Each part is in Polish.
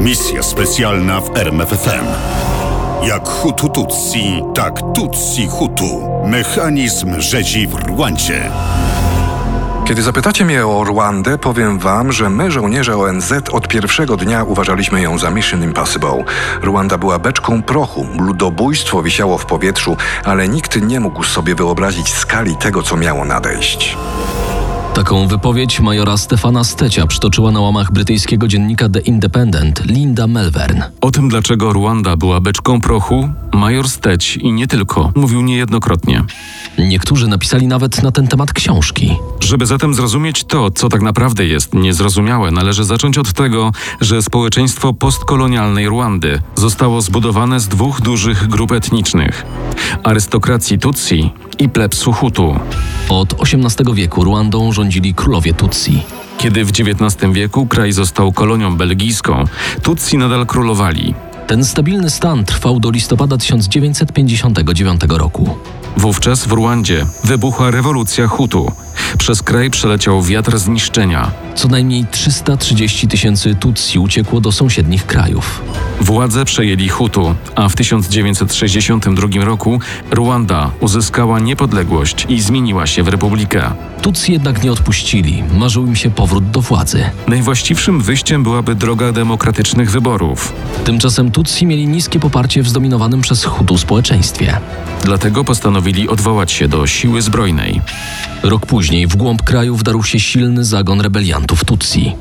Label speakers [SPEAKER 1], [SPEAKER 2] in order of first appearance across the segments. [SPEAKER 1] Misja specjalna w RMFFM. Jak Hutu Tutsi, tak Tutsi Hutu. Mechanizm rzezi w Rwandzie.
[SPEAKER 2] Kiedy zapytacie mnie o Rwandę, powiem wam, że my, żołnierze ONZ, od pierwszego dnia uważaliśmy ją za Mission Impossible. Rwanda była beczką prochu, ludobójstwo wisiało w powietrzu, ale nikt nie mógł sobie wyobrazić skali tego, co miało nadejść.
[SPEAKER 3] Taką wypowiedź majora Stefana Stecia przytoczyła na łamach brytyjskiego dziennika The Independent Linda Melvern.
[SPEAKER 4] O tym, dlaczego Ruanda była beczką prochu, major Steć i nie tylko mówił niejednokrotnie.
[SPEAKER 3] Niektórzy napisali nawet na ten temat książki.
[SPEAKER 4] Żeby zatem zrozumieć to, co tak naprawdę jest niezrozumiałe, należy zacząć od tego, że społeczeństwo postkolonialnej Ruandy zostało zbudowane z dwóch dużych grup etnicznych arystokracji Tutsi i plebsu Hutu.
[SPEAKER 3] Od XVIII wieku Ruandą rządzili królowie Tutsi.
[SPEAKER 4] Kiedy w XIX wieku kraj został kolonią belgijską, Tutsi nadal królowali.
[SPEAKER 3] Ten stabilny stan trwał do listopada 1959 roku.
[SPEAKER 4] Wówczas w Ruandzie wybuchła rewolucja Hutu. Przez kraj przeleciał wiatr zniszczenia.
[SPEAKER 3] Co najmniej 330 tysięcy Tutsi uciekło do sąsiednich krajów.
[SPEAKER 4] Władze przejęli Hutu, a w 1962 roku Ruanda uzyskała niepodległość i zmieniła się w republikę.
[SPEAKER 3] Tutsi jednak nie odpuścili, marzył im się powrót do władzy.
[SPEAKER 4] Najwłaściwszym wyjściem byłaby droga demokratycznych wyborów.
[SPEAKER 3] Tymczasem Tutsi mieli niskie poparcie w zdominowanym przez Hutu społeczeństwie.
[SPEAKER 4] Dlatego postanowili odwołać się do siły zbrojnej.
[SPEAKER 3] Rok później w głąb kraju wdarł się silny zagon rebeliantów Tutsi.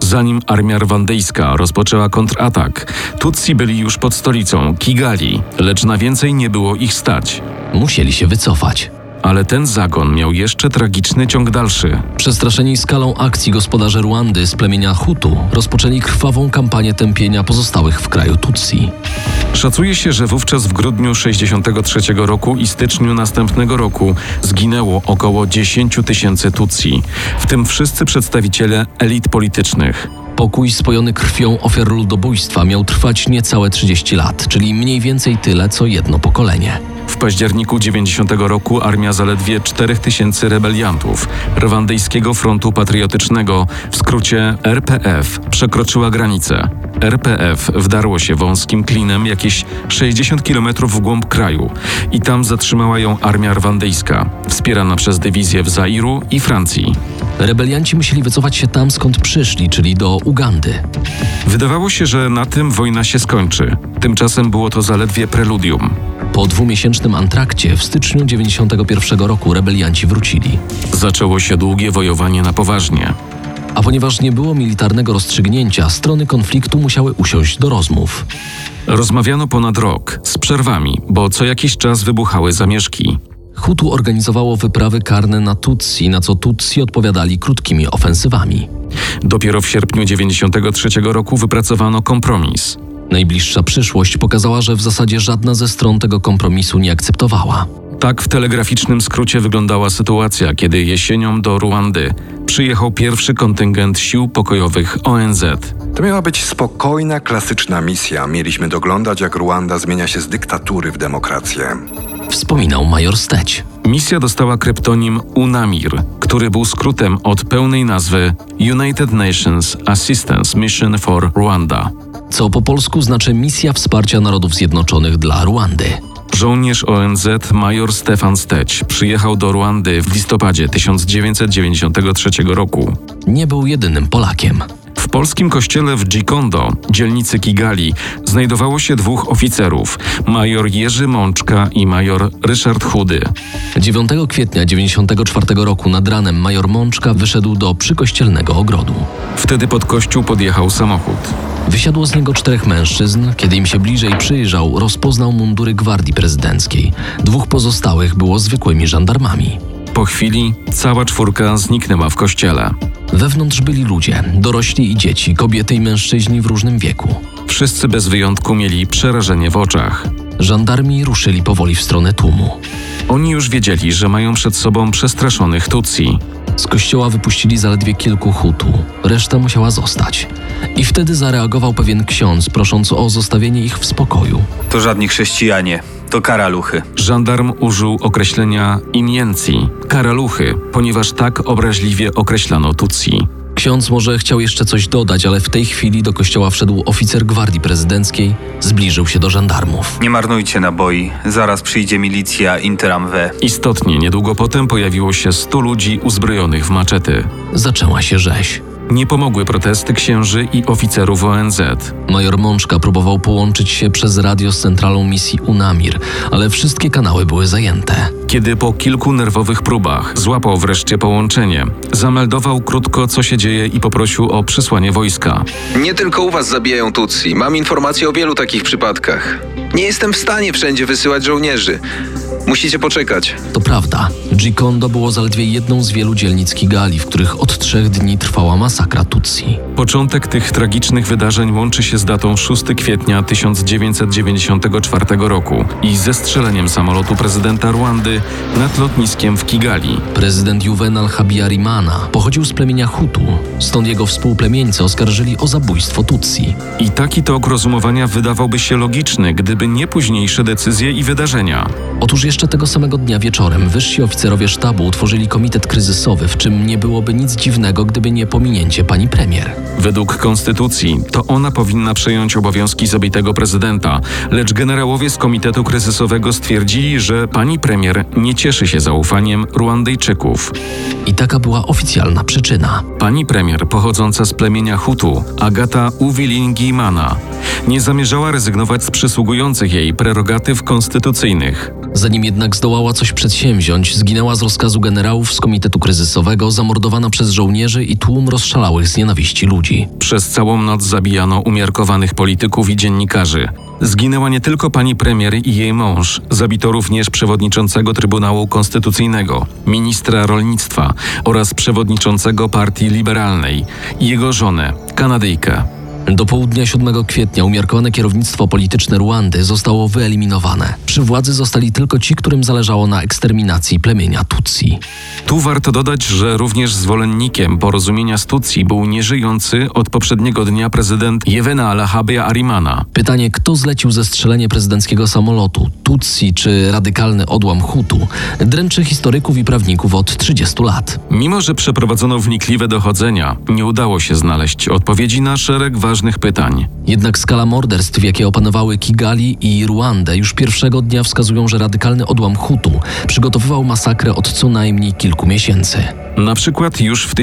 [SPEAKER 4] Zanim armia rwandyjska rozpoczęła kontratak, Tutsi byli już pod stolicą Kigali, lecz na więcej nie było ich stać.
[SPEAKER 3] Musieli się wycofać.
[SPEAKER 4] Ale ten zagon miał jeszcze tragiczny ciąg dalszy.
[SPEAKER 3] Przestraszeni skalą akcji gospodarze Ruandy z plemienia Hutu rozpoczęli krwawą kampanię tępienia pozostałych w kraju Tutsi.
[SPEAKER 4] Szacuje się, że wówczas w grudniu 63 roku i styczniu następnego roku zginęło około 10 tysięcy Tutsi, w tym wszyscy przedstawiciele elit politycznych.
[SPEAKER 3] Pokój spojony krwią ofiar ludobójstwa miał trwać niecałe 30 lat, czyli mniej więcej tyle co jedno pokolenie.
[SPEAKER 4] W październiku 90 roku armia zaledwie 4 tysięcy rebeliantów Rwandyjskiego Frontu Patriotycznego, w skrócie RPF, przekroczyła granicę. RPF wdarło się wąskim klinem jakieś 60 km w głąb kraju i tam zatrzymała ją armia rwandyjska, wspierana przez dywizję w Zairu i Francji.
[SPEAKER 3] Rebelianci musieli wycofać się tam skąd przyszli, czyli do Ugandy.
[SPEAKER 4] Wydawało się, że na tym wojna się skończy. Tymczasem było to zaledwie preludium.
[SPEAKER 3] Po dwumiesięcznym antrakcie w styczniu 91 roku rebelianci wrócili.
[SPEAKER 4] Zaczęło się długie wojowanie na poważnie.
[SPEAKER 3] A ponieważ nie było militarnego rozstrzygnięcia, strony konfliktu musiały usiąść do rozmów.
[SPEAKER 4] Rozmawiano ponad rok, z przerwami, bo co jakiś czas wybuchały zamieszki.
[SPEAKER 3] Hutu organizowało wyprawy karne na Tutsi, na co Tutsi odpowiadali krótkimi ofensywami.
[SPEAKER 4] Dopiero w sierpniu 93 roku wypracowano kompromis.
[SPEAKER 3] Najbliższa przyszłość pokazała, że w zasadzie żadna ze stron tego kompromisu nie akceptowała.
[SPEAKER 4] Tak w telegraficznym skrócie wyglądała sytuacja, kiedy jesienią do Ruandy przyjechał pierwszy kontyngent sił pokojowych ONZ.
[SPEAKER 2] To miała być spokojna, klasyczna misja. Mieliśmy doglądać, jak Ruanda zmienia się z dyktatury w demokrację.
[SPEAKER 3] Wspominał major Steć.
[SPEAKER 4] Misja dostała kryptonim UNAMIR, który był skrótem od pełnej nazwy United Nations Assistance Mission for Rwanda.
[SPEAKER 3] co po polsku znaczy Misja Wsparcia Narodów Zjednoczonych dla Ruandy.
[SPEAKER 4] Żołnierz ONZ major Stefan Steć przyjechał do Ruandy w listopadzie 1993 roku.
[SPEAKER 3] Nie był jedynym Polakiem.
[SPEAKER 4] W polskim kościele w Gikondo, dzielnicy Kigali, znajdowało się dwóch oficerów, major Jerzy Mączka i major Ryszard Chudy.
[SPEAKER 3] 9 kwietnia 1994 roku nad ranem major Mączka wyszedł do przykościelnego ogrodu.
[SPEAKER 4] Wtedy pod kościół podjechał samochód.
[SPEAKER 3] Wysiadło z niego czterech mężczyzn. Kiedy im się bliżej przyjrzał, rozpoznał mundury gwardii prezydenckiej. Dwóch pozostałych było zwykłymi żandarmami.
[SPEAKER 4] Po chwili cała czwórka zniknęła w kościele.
[SPEAKER 3] Wewnątrz byli ludzie, dorośli i dzieci, kobiety i mężczyźni w różnym wieku.
[SPEAKER 4] Wszyscy bez wyjątku mieli przerażenie w oczach.
[SPEAKER 3] Żandarmi ruszyli powoli w stronę tłumu.
[SPEAKER 4] Oni już wiedzieli, że mają przed sobą przestraszonych Tutsi.
[SPEAKER 3] Z kościoła wypuścili zaledwie kilku hutu, reszta musiała zostać. I wtedy zareagował pewien ksiądz, prosząc o zostawienie ich w spokoju.
[SPEAKER 5] To żadni chrześcijanie, to karaluchy.
[SPEAKER 4] Żandarm użył określenia imiencji, karaluchy, ponieważ tak obraźliwie określano Tutsi.
[SPEAKER 3] Ksiądz może chciał jeszcze coś dodać, ale w tej chwili do kościoła wszedł oficer gwardii prezydenckiej, zbliżył się do żandarmów.
[SPEAKER 5] Nie marnujcie naboi, zaraz przyjdzie milicja Interam V.
[SPEAKER 4] Istotnie, niedługo potem pojawiło się 100 ludzi uzbrojonych w maczety.
[SPEAKER 3] Zaczęła się rzeź.
[SPEAKER 4] Nie pomogły protesty księży i oficerów ONZ.
[SPEAKER 3] Major Mączka próbował połączyć się przez radio z centralą misji UNAMIR, ale wszystkie kanały były zajęte.
[SPEAKER 4] Kiedy po kilku nerwowych próbach złapał wreszcie połączenie, zameldował krótko, co się dzieje i poprosił o przysłanie wojska.
[SPEAKER 6] Nie tylko u was zabijają Tutsi. Mam informacje o wielu takich przypadkach. Nie jestem w stanie wszędzie wysyłać żołnierzy. Musicie poczekać.
[SPEAKER 3] To prawda, Gikondo było zaledwie jedną z wielu dzielnic Kigali, w których od trzech dni trwała masakra Tutsi.
[SPEAKER 4] Początek tych tragicznych wydarzeń łączy się z datą 6 kwietnia 1994 roku i zestrzeleniem samolotu prezydenta Rwandy nad lotniskiem w Kigali.
[SPEAKER 3] Prezydent Juvenal Habyarimana pochodził z plemienia Hutu, stąd jego współplemieńcy oskarżyli o zabójstwo Tutsi.
[SPEAKER 4] I taki tok rozumowania wydawałby się logiczny, gdyby nie późniejsze decyzje i wydarzenia.
[SPEAKER 3] Otóż jeszcze tego samego dnia wieczorem wyżsi oficerowie sztabu utworzyli komitet kryzysowy, w czym nie byłoby nic dziwnego, gdyby nie pominięcie pani premier.
[SPEAKER 4] Według konstytucji to ona powinna przejąć obowiązki zabitego prezydenta, lecz generałowie z Komitetu Kryzysowego stwierdzili, że pani premier nie cieszy się zaufaniem Ruandyjczyków.
[SPEAKER 3] I taka była oficjalna przyczyna.
[SPEAKER 4] Pani premier pochodząca z plemienia Hutu, Agata Uwilingimana, nie zamierzała rezygnować z przysługujących jej prerogatyw konstytucyjnych.
[SPEAKER 3] Zanim jednak zdołała coś przedsięwziąć, zginęła z rozkazu generałów z Komitetu Kryzysowego, zamordowana przez żołnierzy i tłum rozszalałych z nienawiści ludzi.
[SPEAKER 4] Przez całą noc zabijano umiarkowanych polityków i dziennikarzy. Zginęła nie tylko pani premier i jej mąż, zabito również przewodniczącego Trybunału Konstytucyjnego, ministra rolnictwa oraz przewodniczącego Partii Liberalnej i jego żonę, Kanadyjkę.
[SPEAKER 3] Do południa 7 kwietnia umiarkowane kierownictwo polityczne Ruandy zostało wyeliminowane. Przy władzy zostali tylko ci, którym zależało na eksterminacji plemienia Tutsi.
[SPEAKER 4] Tu warto dodać, że również zwolennikiem porozumienia z Tutsi był nieżyjący od poprzedniego dnia prezydent Jewena Alahabia Arimana.
[SPEAKER 3] Pytanie, kto zlecił zestrzelenie prezydenckiego samolotu, Tutsi czy radykalny odłam Hutu, dręczy historyków i prawników od 30 lat.
[SPEAKER 4] Mimo, że przeprowadzono wnikliwe dochodzenia, nie udało się znaleźć odpowiedzi na szereg ważnych pytań.
[SPEAKER 3] Jednak skala morderstw, jakie opanowały Kigali i Ruandę, już pierwszego dnia wskazują, że radykalny odłam Hutu przygotowywał masakrę od co najmniej kilku miesięcy.
[SPEAKER 4] Na przykład już w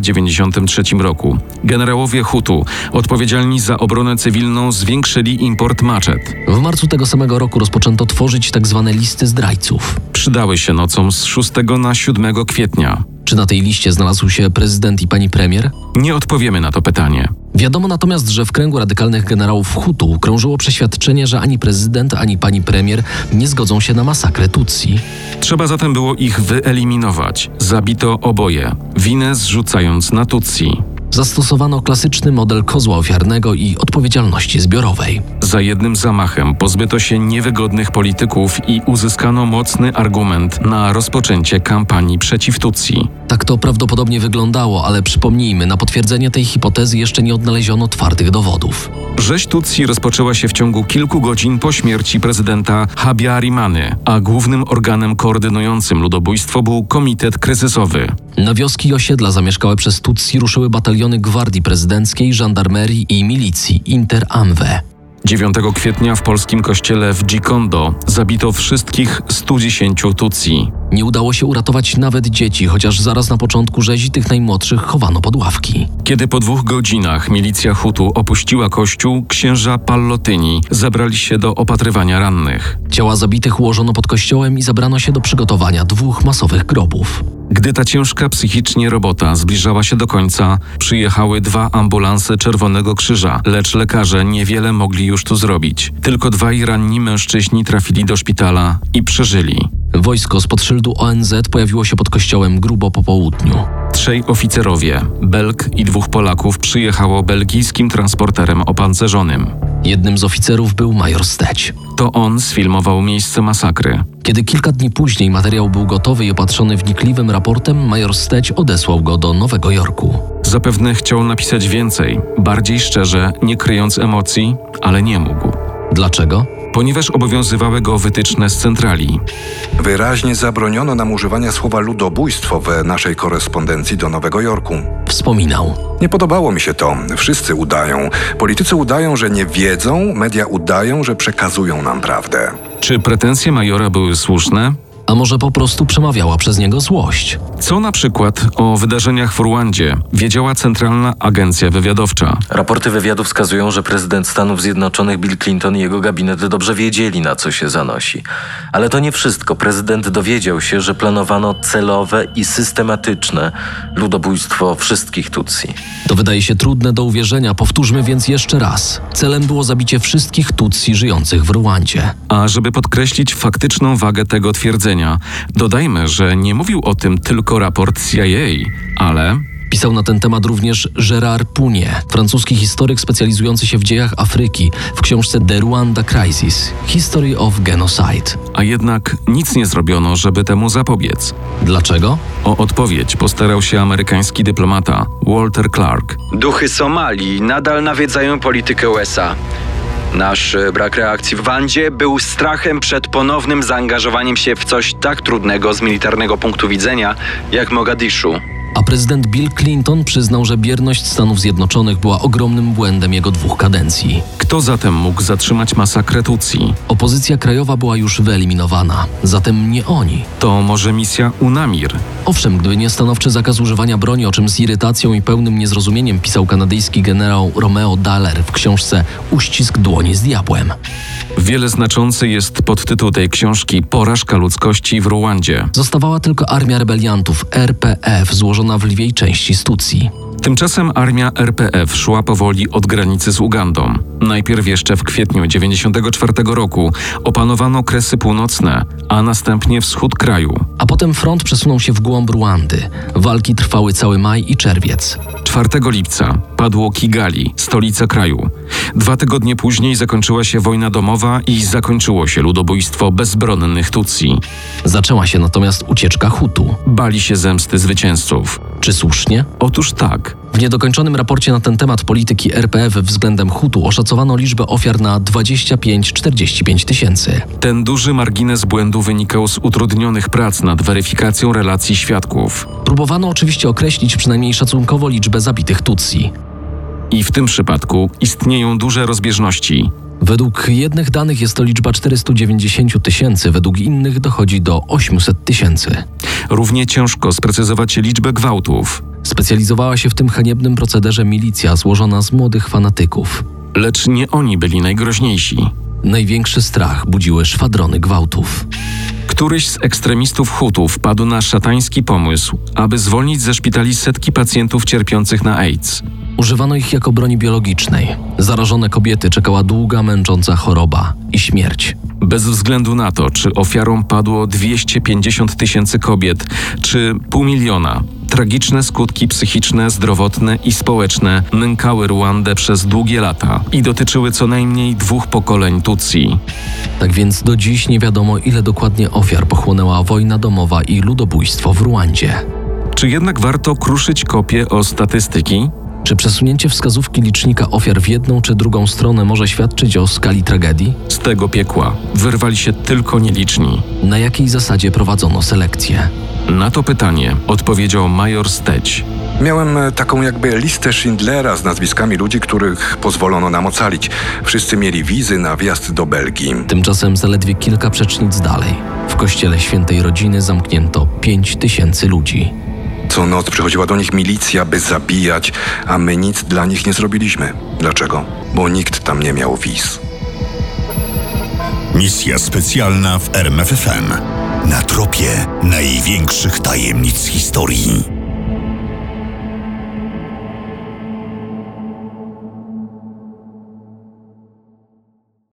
[SPEAKER 4] 1993 roku generałowie Hutu, odpowiedzialni za obronę cywilną, zwiększyli import maczet.
[SPEAKER 3] W marcu tego samego roku rozpoczęto tworzyć tzw. listy zdrajców.
[SPEAKER 4] Przydały się nocą z 6 na 7 kwietnia.
[SPEAKER 3] Czy na tej liście znalazł się prezydent i pani premier?
[SPEAKER 4] Nie odpowiemy na to pytanie.
[SPEAKER 3] Wiadomo natomiast, że w kręgu radykalnych generałów Hutu krążyło przeświadczenie, że ani prezydent, ani pani premier nie zgodzą się na masakrę Tutsi.
[SPEAKER 4] Trzeba zatem było ich wyeliminować. Zabito oboje, winę zrzucając na Tutsi.
[SPEAKER 3] Zastosowano klasyczny model kozła ofiarnego i odpowiedzialności zbiorowej.
[SPEAKER 4] Za jednym zamachem pozbyto się niewygodnych polityków i uzyskano mocny argument na rozpoczęcie kampanii przeciw Tutsi.
[SPEAKER 3] Tak to prawdopodobnie wyglądało, ale przypomnijmy, na potwierdzenie tej hipotezy jeszcze nie odnaleziono twardych dowodów.
[SPEAKER 4] Rzeź Tutsi rozpoczęła się w ciągu kilku godzin po śmierci prezydenta Habyarimany, a głównym organem koordynującym ludobójstwo był Komitet Kryzysowy.
[SPEAKER 3] Na wioski i osiedla zamieszkałe przez Tutsi ruszyły bataliony Gwardii Prezydenckiej, Żandarmerii i Milicji Inter-AMWE.
[SPEAKER 4] 9 kwietnia w polskim kościele w Gikondo zabito wszystkich 110 Tutsi.
[SPEAKER 3] Nie udało się uratować nawet dzieci, chociaż zaraz na początku rzezi tych najmłodszych chowano pod ławki.
[SPEAKER 4] Kiedy po dwóch godzinach milicja Hutu opuściła kościół, księża Pallotyni zabrali się do opatrywania rannych.
[SPEAKER 3] Ciała zabitych ułożono pod kościołem i zabrano się do przygotowania dwóch masowych grobów.
[SPEAKER 4] Gdy ta ciężka psychicznie robota zbliżała się do końca, przyjechały dwa ambulanse Czerwonego Krzyża, lecz lekarze niewiele mogli już tu zrobić. Tylko dwaj ranni mężczyźni trafili do szpitala i przeżyli.
[SPEAKER 3] Wojsko spod szyldu ONZ pojawiło się pod kościołem grubo po południu.
[SPEAKER 4] Trzej oficerowie, Belg i dwóch Polaków przyjechało belgijskim transporterem opancerzonym.
[SPEAKER 3] Jednym z oficerów był major Steć.
[SPEAKER 4] To on sfilmował miejsce masakry.
[SPEAKER 3] Kiedy kilka dni później materiał był gotowy i opatrzony wnikliwym raportem, major Steć odesłał go do Nowego Jorku.
[SPEAKER 4] Zapewne chciał napisać więcej, bardziej szczerze, nie kryjąc emocji, ale nie mógł.
[SPEAKER 3] Dlaczego?
[SPEAKER 4] ponieważ obowiązywały go wytyczne z centrali.
[SPEAKER 2] Wyraźnie zabroniono nam używania słowa ludobójstwo w naszej korespondencji do Nowego Jorku.
[SPEAKER 3] Wspominał.
[SPEAKER 2] Nie podobało mi się to. Wszyscy udają. Politycy udają, że nie wiedzą, media udają, że przekazują nam prawdę.
[SPEAKER 4] Czy pretensje majora były słuszne?
[SPEAKER 3] A może po prostu przemawiała przez niego złość?
[SPEAKER 4] Co na przykład o wydarzeniach w Ruandzie wiedziała Centralna Agencja Wywiadowcza?
[SPEAKER 7] Raporty wywiadu wskazują, że prezydent Stanów Zjednoczonych Bill Clinton i jego gabinet dobrze wiedzieli, na co się zanosi. Ale to nie wszystko. Prezydent dowiedział się, że planowano celowe i systematyczne ludobójstwo wszystkich Tutsi.
[SPEAKER 3] To wydaje się trudne do uwierzenia, powtórzmy więc jeszcze raz. Celem było zabicie wszystkich Tutsi żyjących w Ruandzie.
[SPEAKER 4] A żeby podkreślić faktyczną wagę tego twierdzenia, dodajmy, że nie mówił o tym tylko raport CIA, ale
[SPEAKER 3] Pisał na ten temat również Gérard Punie, francuski historyk specjalizujący się w dziejach Afryki, w książce The Rwanda Crisis – History of Genocide.
[SPEAKER 4] a jednak nic nie zrobiono, żeby temu zapobiec.
[SPEAKER 3] Dlaczego?
[SPEAKER 4] O odpowiedź postarał się amerykański dyplomata Walter Clark.
[SPEAKER 8] Duchy Somalii nadal nawiedzają politykę USA. Nasz e, brak reakcji w Wandzie był strachem przed ponownym zaangażowaniem się w coś tak trudnego z militarnego punktu widzenia jak Mogadiszu.
[SPEAKER 3] A prezydent Bill Clinton przyznał, że bierność Stanów Zjednoczonych była ogromnym błędem jego dwóch kadencji.
[SPEAKER 4] Kto zatem mógł zatrzymać masakrę Tutsi?
[SPEAKER 3] Opozycja krajowa była już wyeliminowana, zatem nie oni.
[SPEAKER 4] To może misja UNAMIR?
[SPEAKER 3] Owszem, gdyby nie stanowczy zakaz używania broni, o czym z irytacją i pełnym niezrozumieniem pisał kanadyjski generał Romeo Daller w książce Uścisk dłoni z diabłem.
[SPEAKER 4] Wiele znaczący jest podtytuł tej książki Porażka ludzkości w Ruandzie.
[SPEAKER 3] Zostawała tylko armia rebeliantów RPF złożona w lwiej części Stucji.
[SPEAKER 4] Tymczasem armia RPF szła powoli od granicy z Ugandą. Najpierw jeszcze w kwietniu 1994 roku opanowano Kresy Północne, a następnie wschód kraju.
[SPEAKER 3] A potem front przesunął się w głąb Ruandy. Walki trwały cały maj i czerwiec.
[SPEAKER 4] 4 lipca padło Kigali, stolica kraju. Dwa tygodnie później zakończyła się wojna domowa i zakończyło się ludobójstwo bezbronnych Tutsi.
[SPEAKER 3] Zaczęła się natomiast ucieczka Hutu.
[SPEAKER 4] Bali się zemsty zwycięzców.
[SPEAKER 3] Czy słusznie?
[SPEAKER 4] Otóż tak,
[SPEAKER 3] W niedokończonym raporcie na ten temat polityki RPF względem Hutu oszacowano liczbę ofiar na 25-45 tysięcy.
[SPEAKER 4] Ten duży margines błędu wynikał z utrudnionych prac nad weryfikacją relacji świadków.
[SPEAKER 3] Próbowano oczywiście określić przynajmniej szacunkowo liczbę zabitych Tutsi.
[SPEAKER 4] I w tym przypadku istnieją duże rozbieżności.
[SPEAKER 3] Według jednych danych jest to liczba 490 tysięcy, według innych dochodzi do 800 tysięcy.
[SPEAKER 4] Równie ciężko sprecyzować liczbę gwałtów.
[SPEAKER 3] Specjalizowała się w tym haniebnym procederze milicja złożona z młodych fanatyków.
[SPEAKER 4] Lecz nie oni byli najgroźniejsi.
[SPEAKER 3] Największy strach budziły szwadrony gwałtów.
[SPEAKER 4] Któryś z ekstremistów Hutów wpadł na szatański pomysł, aby zwolnić ze szpitali setki pacjentów cierpiących na AIDS.
[SPEAKER 3] Używano ich jako broni biologicznej. Zarażone kobiety czekała długa, męcząca choroba i śmierć.
[SPEAKER 4] Bez względu na to, czy ofiarą padło 250 tysięcy kobiet, czy pół miliona, tragiczne skutki psychiczne, zdrowotne i społeczne nękały Ruandę przez długie lata i dotyczyły co najmniej dwóch pokoleń Tutsi.
[SPEAKER 3] Tak więc do dziś nie wiadomo, ile dokładnie ofiar pochłonęła wojna domowa i ludobójstwo w Ruandzie.
[SPEAKER 4] Czy jednak warto kruszyć kopie o statystyki?
[SPEAKER 3] Czy przesunięcie wskazówki licznika ofiar w jedną czy drugą stronę może świadczyć o skali tragedii?
[SPEAKER 4] Z tego piekła wyrwali się tylko nieliczni.
[SPEAKER 3] Na jakiej zasadzie prowadzono selekcję?
[SPEAKER 4] Na to pytanie odpowiedział major Steć.
[SPEAKER 2] Miałem e, taką jakby listę Schindlera z nazwiskami ludzi, których pozwolono nam ocalić. Wszyscy mieli wizy na wjazd do Belgii.
[SPEAKER 3] Tymczasem zaledwie kilka przecznic dalej, w kościele świętej rodziny zamknięto 5 tysięcy ludzi.
[SPEAKER 2] Co noc przychodziła do nich milicja, by zabijać, a my nic dla nich nie zrobiliśmy. Dlaczego? Bo nikt tam nie miał wiz.
[SPEAKER 1] Misja specjalna w RMFFM. Na tropie największych tajemnic historii.